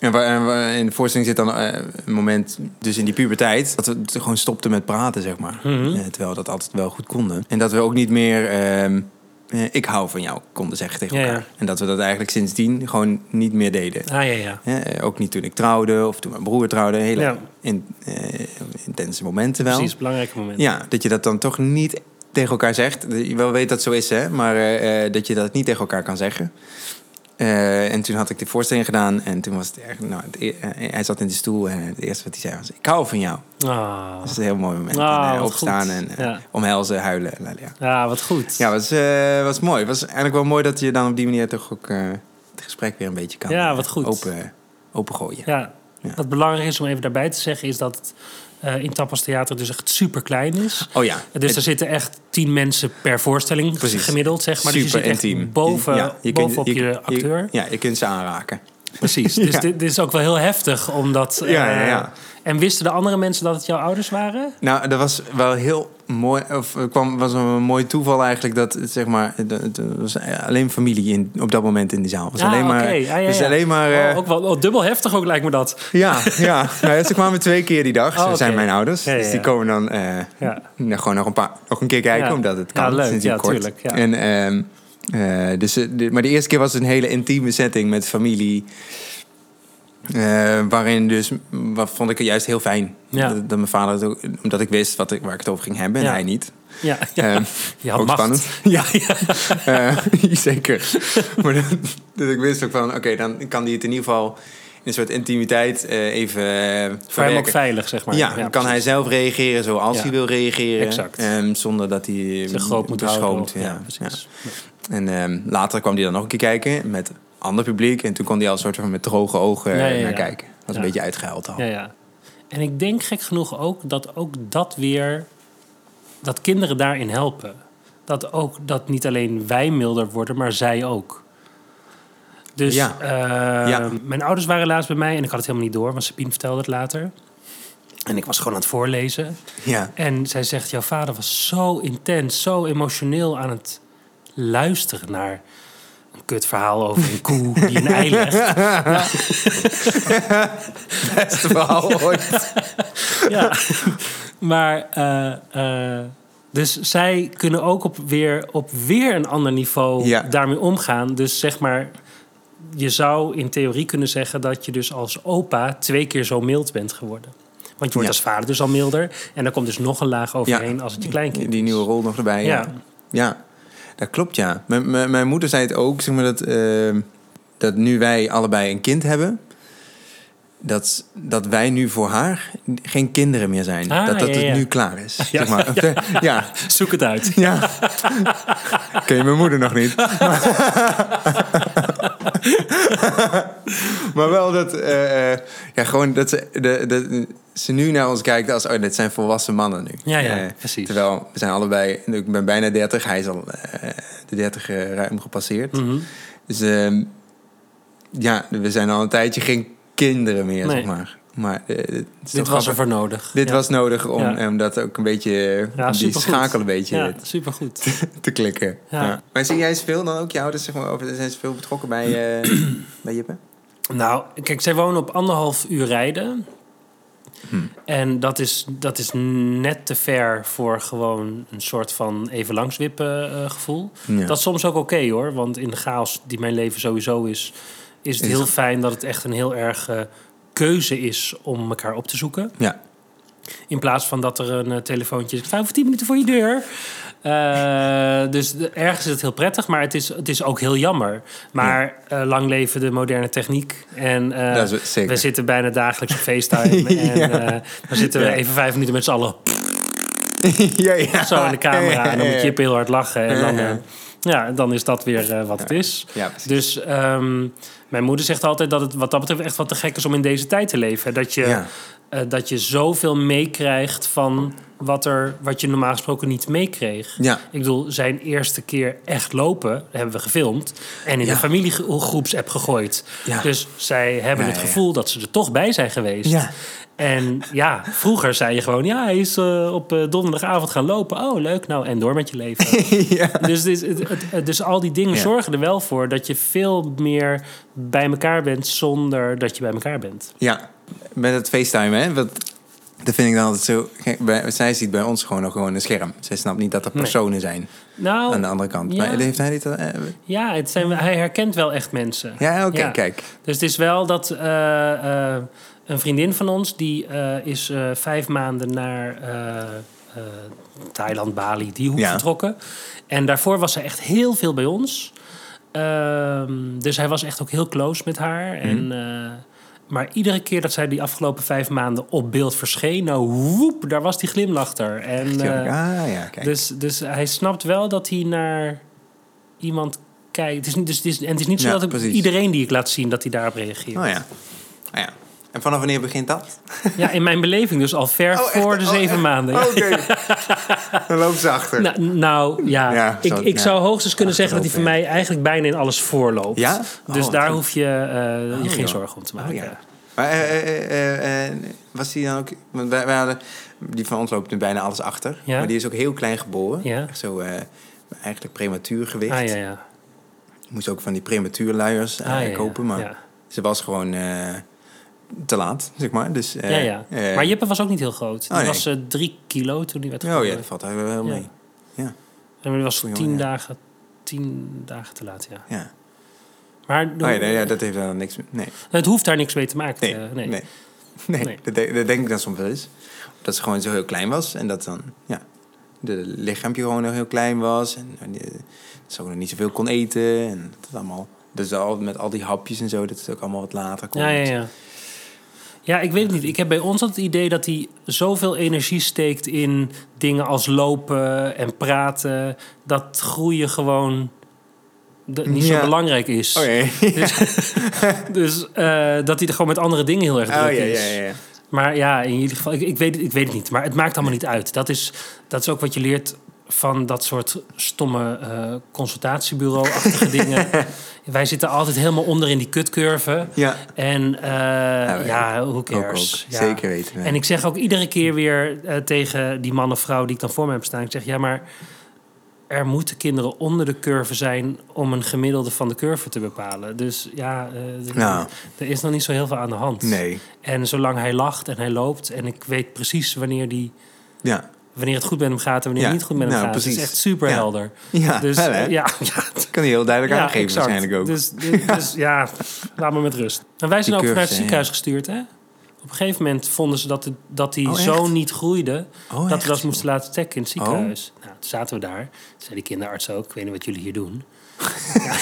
B: en, waar, en waar- in de voorstelling zit dan eh, een moment, dus in die puberteit, dat we t- gewoon stopten met praten, zeg maar.
A: Mhm.
B: Eh, terwijl we dat altijd wel goed konden. En dat we ook niet meer ehm, eh, ik hou van jou konden zeggen tegen
A: Ja,
B: elkaar.
A: ja.
B: En dat we dat eigenlijk sindsdien gewoon niet meer deden.
A: Ah ja, ja.
B: Eh, ook niet toen ik trouwde of toen mijn broer trouwde. Hele
A: Ja.
B: in- eh, intense momenten wel.
A: Precies, belangrijke moment.
B: Ja, dat je dat dan toch niet tegen elkaar zegt. Je wel weet dat zo is, hè? maar eh, eh, dat je dat niet tegen elkaar kan zeggen. Eh, en toen had ik de voorstelling gedaan en toen was het echt... Nou, het e- eh, hij zat in de stoel en het eerste wat hij zei was... Ik hou van jou.
A: Ah,
B: Dat is een heel mooi moment.
A: Ah,
B: En, Dus eh,
A: wat
B: opstaan
A: goed.
B: en eh,
A: Ja.
B: omhelzen, huilen. la, la, Ja,
A: ja wat goed.
B: ja was, eh, was mooi. Het was eigenlijk wel mooi dat je dan op die manier toch ook... eh, het gesprek weer een beetje kan
A: Ja,
B: eh,
A: wat goed.
B: Open, opengooien.
A: Ja, Wat belangrijk is om even daarbij te zeggen, is dat het eh, in Tapas Theater dus echt super klein is.
B: Oh ja.
A: Dus
B: Het-
A: er zitten echt tien mensen per voorstelling
B: Precies.
A: gemiddeld, zeg maar. dus
B: super
A: je zit echt
B: intiem.
A: boven,
B: Ja, je kunt-
A: bovenop
B: je-
A: je, acteur.
B: ja, je kunt ze aanraken.
A: Precies. <laughs> Dus
B: Ja.
A: dit, dit is ook wel heel heftig, omdat... eh,
B: Ja, ja, ja.
A: En wisten de andere mensen dat het jouw ouders waren?
B: Nou, dat was wel heel mooi. Of er kwam, was een mooi toeval eigenlijk dat het, zeg maar. Het, het was alleen familie in, op dat moment in de zaal. Het was
A: Ah,
B: alleen maar.
A: oké. Ah, ja,
B: Dus
A: ja.
B: alleen maar.
A: Oh,
B: eh,
A: ook wel oh, dubbel heftig ook lijkt me dat.
B: Ja, ja. Nou ja, ze kwamen twee keer die dag. Ze
A: Oh, oké.
B: zijn mijn ouders.
A: Ja, ja,
B: Dus die
A: ja.
B: komen dan eh,
A: Ja.
B: nou, gewoon nog een, paar, nog een keer kijken,
A: Ja.
B: omdat het
A: Ja,
B: kan.
A: leuk.
B: sinds die
A: Ja,
B: kort.
A: tuurlijk, ja.
B: En, ehm, eh, dus, eh, de- maar de eerste keer was het een hele intieme setting met familie. Eh, waarin dus, wat vond ik juist heel fijn.
A: Ja.
B: Dat, dat mijn vader, het ook, omdat ik wist wat ik, waar ik het over ging hebben en
A: Ja.
B: hij niet.
A: Ja, <laughs> ja.
B: Ehm,
A: Je had
B: ook
A: macht.
B: spannend. <laughs>
A: <laughs> Ja, ja.
B: Eh, <laughs> zeker. maar dat, dat ik wist ook van, oké, dan kan die het in ieder geval in een soort intimiteit eh, even eh,
A: Voor hem ook
B: verwerken.
A: veilig, zeg maar.
B: ja, dan kan hij zelf reageren zoals
A: Ja.
B: hij wil reageren.
A: Exact.
B: Ehm, zonder dat hij
A: Te groot moet houden.
B: beschroomd.
A: of- Ja,
B: ja, ja.
A: precies.
B: En ehm, later kwam hij dan nog een keer kijken met ander publiek. En toen kon hij al soort van met droge ogen
A: Ja, ja,
B: eh,
A: ja.
B: naar kijken. Dat was
A: Ja.
B: een beetje uitgehuild al.
A: Ja, ja. En ik denk gek genoeg ook dat ook dat weer... dat kinderen daarin helpen. Dat ook dat niet alleen wij milder worden, maar zij ook. Dus
B: Ja.
A: eh,
B: Ja.
A: mijn ouders waren laatst bij mij... en ik had het helemaal niet door, want Sabine vertelde het later. En ik was gewoon aan het voorlezen.
B: Ja.
A: En zij zegt, jouw vader was zo intens, zo emotioneel aan het luisteren naar een kut verhaal over een koe die een ei legt.
B: Beste
A: <laughs>
B: verhaal ooit.
A: Ja. <laughs> Maar, eh, eh, dus zij kunnen ook op weer, op weer een ander niveau
B: Ja.
A: daarmee omgaan. Dus zeg maar, je zou in theorie kunnen zeggen dat je dus als opa twee keer zo mild bent geworden. Want je wordt
B: Ja.
A: als vader dus al milder. En daar komt dus nog een laag overheen als het je kleinkind
B: Die,
A: is.
B: die nieuwe rol nog erbij. Ja.
A: Ja.
B: ja. dat klopt ja. Mijn- mijn- mijn moeder zei het ook, zeg maar, dat, ehm, dat nu wij allebei een kind hebben... Dat, dat wij nu voor haar geen kinderen meer zijn.
A: Ah,
B: dat dat
A: ja,
B: het
A: ja.
B: nu klaar is.
A: <laughs>
B: Zeg maar. <laughs> ja.
A: Zoek het uit.
B: Ja. Ken je mijn moeder nog niet. <laughs> maar wel dat, eh, eh, ja, gewoon dat ze, de, de, ze nu naar ons kijkt als... oh, dit zijn volwassen mannen nu.
A: Ja, ja,
B: Eh,
A: precies.
B: Terwijl we zijn allebei... ik ben bijna 30, hij is al eh, de 30 eh, ruim gepasseerd.
A: Mhm.
B: Dus ehm, ja, we zijn al een tijdje geen kinderen meer,
A: Nee.
B: zeg maar. Maar eh, het is toch
A: Dit was
B: grappig.
A: ervoor nodig.
B: Dit
A: Ja.
B: was nodig om,
A: Ja.
B: om dat ook een beetje... eh,
A: Ja,
B: die
A: supergoed.
B: schakel een beetje
A: Ja, supergoed.
B: te klikken.
A: Ja.
B: Ja. Maar zie jij veel dan ook? Je ouders zeg maar, over, zijn ze veel betrokken bij, eh,
A: <clears throat>
B: bij Jippe?
A: Nou, kijk, zij wonen op anderhalf uur rijden. Hm. En dat is, dat is net te ver voor gewoon een soort van even langswippen eh, gevoel.
B: Ja.
A: Dat is soms ook oké hoor, want in de chaos die mijn leven sowieso is, is het
B: Is-
A: heel fijn dat het echt een heel erg eh, keuze is om elkaar op te zoeken.
B: Ja.
A: In plaats van dat er een eh, telefoontje is, vijf of tien minuten voor je deur. Eh, dus de- ergens is het heel prettig, maar het is, het is ook heel jammer. Maar eh, lang leven de moderne techniek. En eh,
B: Dat is zeker.
A: we zitten bijna dagelijks op
B: <laughs>
A: FaceTime. En
B: Ja.
A: eh, dan zitten we
B: Ja.
A: even vijf minuten met z'n allen
B: <laughs> ja, ja.
A: zo in de camera. En dan moet
B: Ja,
A: je heel hard lachen. En dan,
B: Ja, ja.
A: eh, Ja, dan is dat weer eh, wat het is.
B: Ja, precies.
A: Dus ehm, mijn moeder zegt altijd dat het wat dat betreft echt wat te gek is om in deze tijd te leven. Dat je,
B: Ja.
A: eh, dat je zoveel meekrijgt van wat, er, wat je normaal gesproken niet meekreeg.
B: Ja. <laughs>
A: Ik bedoel, zijn eerste keer echt lopen dat hebben we gefilmd en in
B: Ja.
A: de familiegroepsapp gegooid.
B: Ja.
A: Dus zij hebben
B: Ja,
A: het
B: ja, ja.
A: gevoel dat ze er toch bij zijn geweest.
B: Ja.
A: En ja, vroeger zei je gewoon: ja, hij is eh, op eh, donderdagavond gaan lopen. Oh, leuk. Nou, en door met je leven.
B: <laughs> ja.
A: Dus, dit- het- het- het- dus al die dingen
B: Ja.
A: zorgen er wel voor dat je veel meer bij elkaar bent zonder dat je bij elkaar bent.
B: Ja, met het FaceTime, hè? Wat, dat vind ik dan altijd zo. gek. Bij, zij ziet bij ons gewoon nog gewoon een scherm. Zij snapt niet dat er personen zijn
A: Nou,
B: aan de andere kant.
A: ja.
B: Maar heeft hij dit? al- eh,
A: ja het zijn, hij herkent wel echt mensen.
B: ja, oké,
A: Ja.
B: kijk.
A: Dus het is wel dat eh, eh, een vriendin van ons, die eh, is eh, vijf maanden naar eh, eh, Thailand, Bali, die hoek
B: Ja.
A: vertrokken. En daarvoor was ze echt heel veel bij ons. Ehm, dus hij was echt ook heel close met haar.
B: Mhm.
A: En, eh, maar iedere keer dat zij die afgelopen vijf maanden op beeld verscheen, nou woep, daar was die glimlach er. En,
B: Ja,
A: eh,
B: ah, ja, kijk.
A: dus, dus hij snapt wel dat hij naar iemand kijkt. Het is niet, dus, het is, en het is niet zo
B: Ja,
A: dat ik-
B: precies.
A: iedereen die ik laat zien, dat hij daarop reageert.
B: oh ja. Ah, ja. En vanaf wanneer begint dat?
A: Ja, in mijn beleving dus al ver
B: Oh, echt?
A: voor de
B: Oh,
A: zeven
B: echt?
A: maanden.
B: Oh,
A: Ja. <laughs>
B: Oké. dan loopt ze achter.
A: Nou, nou, ja,
B: Ja,
A: ik,
B: zo-
A: ik
B: ja.
A: zou hoogstens kunnen zeggen dat hij voor
B: Achterlopen,
A: mij eigenlijk bijna in alles voorloopt.
B: Ja?
A: dus
B: Oh,
A: daar
B: goed.
A: hoef je eh, je
B: Oh,
A: geen
B: joh.
A: zorgen om te
B: Oh,
A: maken.
B: ja. Maar eh, eh, eh, eh, was die dan ook... Want wij, wij hadden, die van ons loopt nu bijna alles achter.
A: Ja.
B: Maar die is ook heel klein geboren.
A: Ja.
B: Echt Zo eh, eigenlijk prematuur gewicht.
A: Ah, ja, ja.
B: Moest ook van die prematuurluiers
A: Ah, ja,
B: luiers
A: ja.
B: kopen. Maar
A: Ja.
B: ze was gewoon eh, te laat, zeg maar. Dus, eh,
A: ja, ja.
B: eh,
A: maar Jeppe was ook niet heel groot. Die
B: Oh, nee.
A: was eh, drie kilo toen hij werd
B: Oh
A: geboren.
B: ja, dat valt daar wel
A: Ja.
B: mee. Ja.
A: En hij was
B: Goeie
A: tien,
B: jongen, ja.
A: dagen, tien dagen te laat, ja.
B: ja.
A: Maar
B: Oh, ja, nee, ja, dat heeft daar dan niks mee. Nee.
A: het hoeft daar niks mee te maken.
B: Nee,
A: eh,
B: nee. <laughs> nee.
A: Nee.
B: Dat, de- dat denk ik dan soms wel eens. Dat ze gewoon zo heel klein was en dat dan, ja, de lichaampje gewoon nog heel klein was en, en die- dat ze ook nog niet zoveel kon eten en dat het allemaal. Dus al, met al die hapjes en zo, dat het ook allemaal wat later komt.
A: Ja, ja, ja. Ja, ik weet het niet. Ik heb bij ons altijd het idee dat hij zoveel energie steekt in dingen als lopen en praten. Dat groeien gewoon de- niet
B: Ja.
A: zo belangrijk <laughs> is.
B: Oh ja, ja.
A: Dus eh, dat hij er gewoon met andere dingen heel erg druk
B: Oh, ja,
A: is.
B: ja, ja, ja.
A: Maar ja, in ieder geval, ik, ik, weet, het- ik weet het niet. Maar het maakt allemaal niet uit. Dat is, dat is ook wat je leert van dat soort stomme eh,
B: <laughs>
A: consultatiebureau-achtige dingen. Wij zitten altijd helemaal onder in die kutcurve.
B: Ja.
A: En eh, ja, hoe
B: wij- Nou Ook, ook.
A: cares? Ja.
B: Zeker weten.
A: En ik zeg ook iedere keer weer eh, tegen die man of vrouw die ik dan voor me heb staan. Ik zeg, ja, maar er moeten kinderen onder de curve zijn om een gemiddelde van de curve te bepalen. Dus ja, eh, er-
B: Nou.
A: er is nog niet zo heel veel aan de hand.
B: Nee.
A: En zolang hij lacht en hij loopt en ik weet precies wanneer, die,
B: Ja.
A: wanneer het goed met hem gaat en wanneer
B: Ja,
A: het niet goed met hem
B: nou,
A: gaat. Het
B: precies.
A: is echt super helder.
B: Ja,
A: dus
B: wel, hè?
A: eh,
B: <laughs>
A: ja, ja,
B: Dat kan hij heel duidelijk aangeven
A: exact.
B: waarschijnlijk ook.
A: Dus, dus, dus
B: <laughs>
A: ja, laat me met rust. En wij
B: Die
A: zijn ook vanuit
B: curves,
A: het
B: ja,
A: ziekenhuis gestuurd, hè? Op een gegeven moment vonden ze dat, het- dat hij
B: Oh, echt?
A: zo niet groeide...
B: Oh,
A: dat
B: echt? Oh.
A: we dat moesten laten checken in het ziekenhuis. Nou, toen zaten we daar. Toen zei die kinderarts ook, ik weet niet wat jullie hier
B: <laughs>
A: doen. Ja.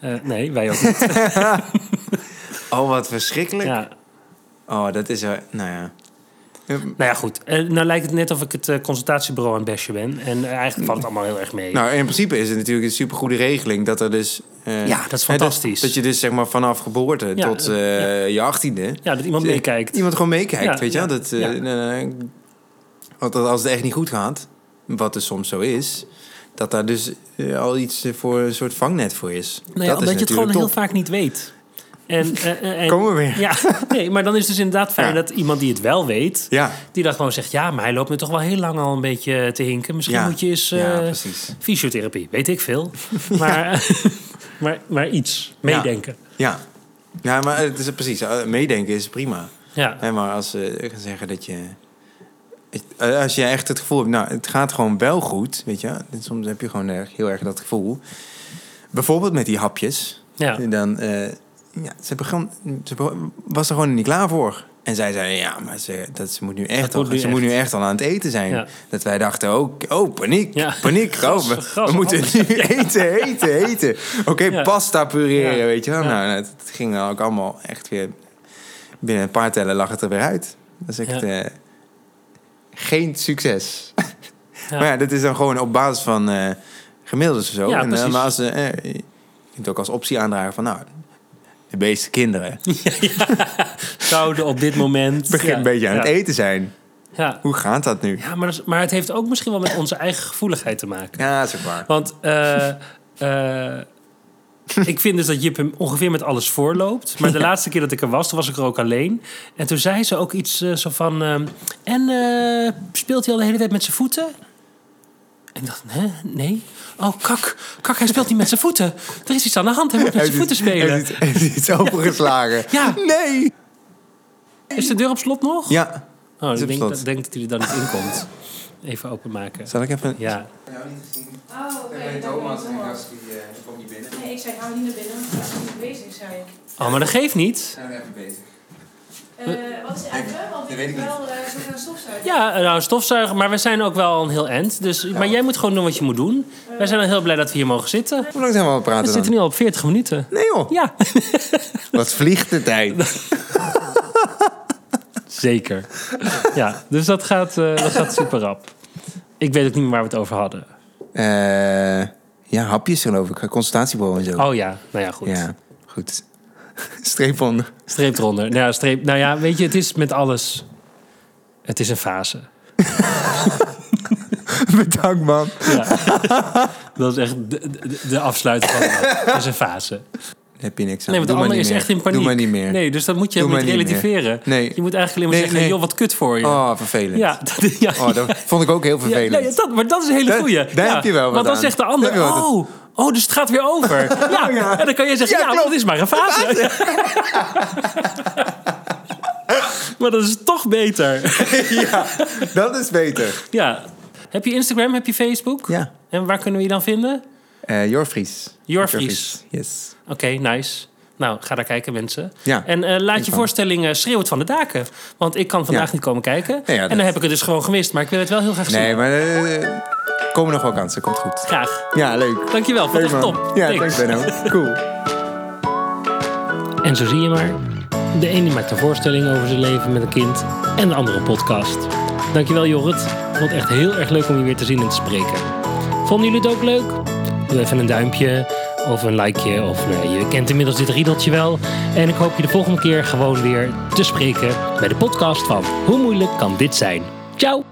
A: Eh, nee, wij ook niet.
B: Oh, wat verschrikkelijk.
A: Ja.
B: Oh, dat is... wel- Nou ja. Ehm,
A: Nou ja, goed. Eh, nou lijkt het net of ik het eh, consultatiebureau aan het besje ben. En eh, eigenlijk valt het allemaal heel erg mee.
B: Nou, in principe is het natuurlijk een supergoede regeling dat er dus... eh,
A: Ja, dat is
B: hè,
A: fantastisch.
B: Dat, je dus zeg maar vanaf geboorte
A: Ja,
B: tot
A: eh,
B: eh, je achttiende...
A: ja, dat iemand meekijkt.
B: Iemand gewoon meekijkt,
A: Ja,
B: weet je wel.
A: ja,
B: Dat, eh,
A: ja.
B: eh, want dat als het echt niet goed gaat, wat er soms zo is... dat daar dus eh, al iets eh, voor een soort vangnet voor is.
A: Nou ja,
B: dat
A: omdat
B: is
A: je het
B: natuurlijk
A: gewoon heel
B: top.
A: vaak niet weet. En, eh, eh, en-
B: Komen we weer.
A: Ja, <laughs> nee, maar dan is het dus inderdaad fijn
B: Ja.
A: dat iemand die het wel weet...
B: Ja,
A: die dan gewoon zegt... ja, maar hij loopt me toch wel heel lang al een beetje te hinken. Misschien
B: Ja.
A: moet je eens eh,
B: Ja, precies.
A: fysiotherapie. Weet ik
B: <laughs>
A: veel. Maar, <laughs> maar, maar iets. Meedenken.
B: ja. Ja, maar het is precies. eh, Meedenken is prima.
A: Ja.
B: Hè, maar als ze gaan zeggen dat je... eh, Als je echt het gevoel hebt, nou, het gaat gewoon wel goed, weet je. En Soms heb je gewoon erg- heel erg dat gevoel. Bijvoorbeeld met die hapjes.
A: Ja.
B: En Dan, eh, ja, ze, begon, ze begon- was er gewoon niet klaar voor. En zij zei, ja, maar ze, dat ze, moet nu echt,
A: Dat
B: al,
A: moet nu
B: ze moet nu echt al aan het eten zijn.
A: Ja.
B: Dat wij dachten, oh, oh paniek,
A: Ja. <laughs>
B: paniek.
A: Gas,
B: oh, we,
A: gas,
B: we <laughs> moeten
A: alles.
B: nu eten, eten, eten. Oké,
A: Ja.
B: pasta pureren,
A: Ja.
B: weet je wel.
A: Ja.
B: Nou, het het ging dan ook allemaal echt weer binnen een paar tellen lag het er weer uit. Dat is echt
A: Ja.
B: eh, geen succes.
A: Ja.
B: Maar ja, dat is dan gewoon op basis van eh, gemiddeld is of zo.
A: Ja,
B: En, eh,
A: precies.
B: maar als, eh, eh, je kunt het ook als optie aandragen van, nou, de meeste
A: <laughs>
B: kinderen
A: zouden op dit moment...
B: beginnen
A: Ja,
B: een beetje aan
A: ja,
B: het eten zijn.
A: Ja,
B: Hoe gaat dat nu?
A: ja maar, dat is- maar het heeft ook misschien wel met onze eigen gevoeligheid te maken.
B: Ja, dat is ook waar.
A: Want eh, eh, ik vind dus dat Jip hem ongeveer met alles voorloopt. Maar de laatste keer dat ik er was, toen was ik er ook alleen. En toen zei ze ook iets eh, zo van... ehm, en eh, speelt hij al de hele tijd met zijn voeten? En ik dacht, hè? Nee? Oh, kak. Kak, hij speelt niet met zijn voeten. Er is iets aan de hand. Hij moet met zijn voeten spelen.
B: Heeft iets, heeft <laughs> iets opengeslagen.
A: Ja.
B: Nee!
A: Is de deur op slot nog?
B: Ja.
A: Oh,
B: is
A: ik
B: op
A: denk,
B: slot.
A: dat- denk dat hij er dan niet in
B: <laughs>
A: komt. Even openmaken.
B: Zal ik even...
A: Ja.
C: Oh, oké. dat kan ik wel.
B: eh, komt niet binnen.
C: Nee, ik zei, hou niet naar binnen, want ik was niet bezig, zei ik.
A: Oh, maar dat geeft niet.
B: Zijn we even bezig.
C: Eh, wat is de uitdaging? Want
B: dat
C: ik
B: weet ik
C: moet wel eh, zo gaan stofzuigen.
A: Ja, nou, stofzuigen, maar we zijn ook wel een heel end. Dus, Maar jij moet gewoon doen wat je moet doen. Wij zijn al heel blij dat we hier mogen zitten.
B: Hoe lang zijn we al aan het
A: We
B: praten
A: zitten
B: dan?
A: nu al op 40 minuten.
B: Nee joh,
A: Ja.
B: wat vliegt de
A: <laughs>
B: tijd.
A: Zeker. <laughs> Ja, dus dat gaat, eh, dat gaat super rap. Ik weet ook niet meer waar we het over hadden.
B: Eh, ja, hapjes geloof ik. Consultatiebureau en zo.
A: Oh ja, nou ja, goed.
B: Ja, goed. <laughs> Streep onder.
A: Streep eronder. Nou ja, streep, nou ja, weet je, het is met alles. Het is een fase.
B: <laughs> Bedankt man.
A: Ja. dat is echt de, de, de afsluiting van <laughs> het is een fase.
B: Heb je niks aan.
A: Nee, want de
B: Doe maar
A: ander
B: niet
A: is
B: meer.
A: echt in paniek.
B: Doe maar niet meer.
A: Nee, dus dat moet je
B: Doe
A: ook niet
B: maar niet meer.
A: relativeren.
B: Nee.
A: Je moet eigenlijk alleen maar
B: Nee,
A: zeggen,
B: nee.
A: joh, wat kut voor je.
B: Oh, vervelend.
A: Ja, dat, ja,
B: Oh,
A: <laughs>
B: dat vond ik ook heel
A: ja,
B: vervelend.
A: nee,
B: <laughs>
A: dat, maar dat is een hele
B: Dat-
A: goeie.
B: daar
A: Ja,
B: heb je wel wat
A: Want dan
B: aan.
A: zegt de
B: Daar
A: ander,
B: heb je wel
A: oh, oh, dus het gaat weer over.
B: <laughs>
A: Ja,
B: ja.
A: en dan kan jij zeggen,
B: Ja,
A: ja,
B: klopt.
A: dat is maar een fase. <laughs> maar dat is toch beter. <laughs>
B: Dat is beter.
A: Ja. Heb je Instagram, heb je Facebook?
B: Ja.
A: En waar kunnen we je dan vinden?
B: Eh Jorvries.
A: Jorvries.
B: Yes.
A: Oké, nice. Nou, ga daar kijken, mensen.
B: Ja.
A: En eh, laat je
B: kan.
A: voorstelling eh, schreeuwt van de daken. Want ik kan vandaag
B: Ja.
A: niet komen kijken.
B: ja,
A: en dan
B: dat-
A: heb ik het dus gewoon gemist. Maar ik wil het wel heel graag zien.
B: Nee, maar eh, komen nog wel kansen. Komt goed.
A: Graag.
B: Ja, leuk.
A: Dankjewel, vond
B: Leuk
A: het echt
B: man.
A: top.
B: Ja,
A: Thanks.
B: thanks Benno. Cool.
A: En zo zie je maar. De ene maakt een voorstelling over zijn leven met een kind en de andere een podcast. Dankjewel Jorrit. Ik vond het echt heel erg leuk om je weer te zien en te spreken. Vonden jullie het ook leuk? Doe even een duimpje of een likeje. Of nou ja, je kent inmiddels dit riedeltje wel. En ik hoop je de volgende keer gewoon weer te spreken bij de podcast van Hoe moeilijk kan dit zijn? Ciao!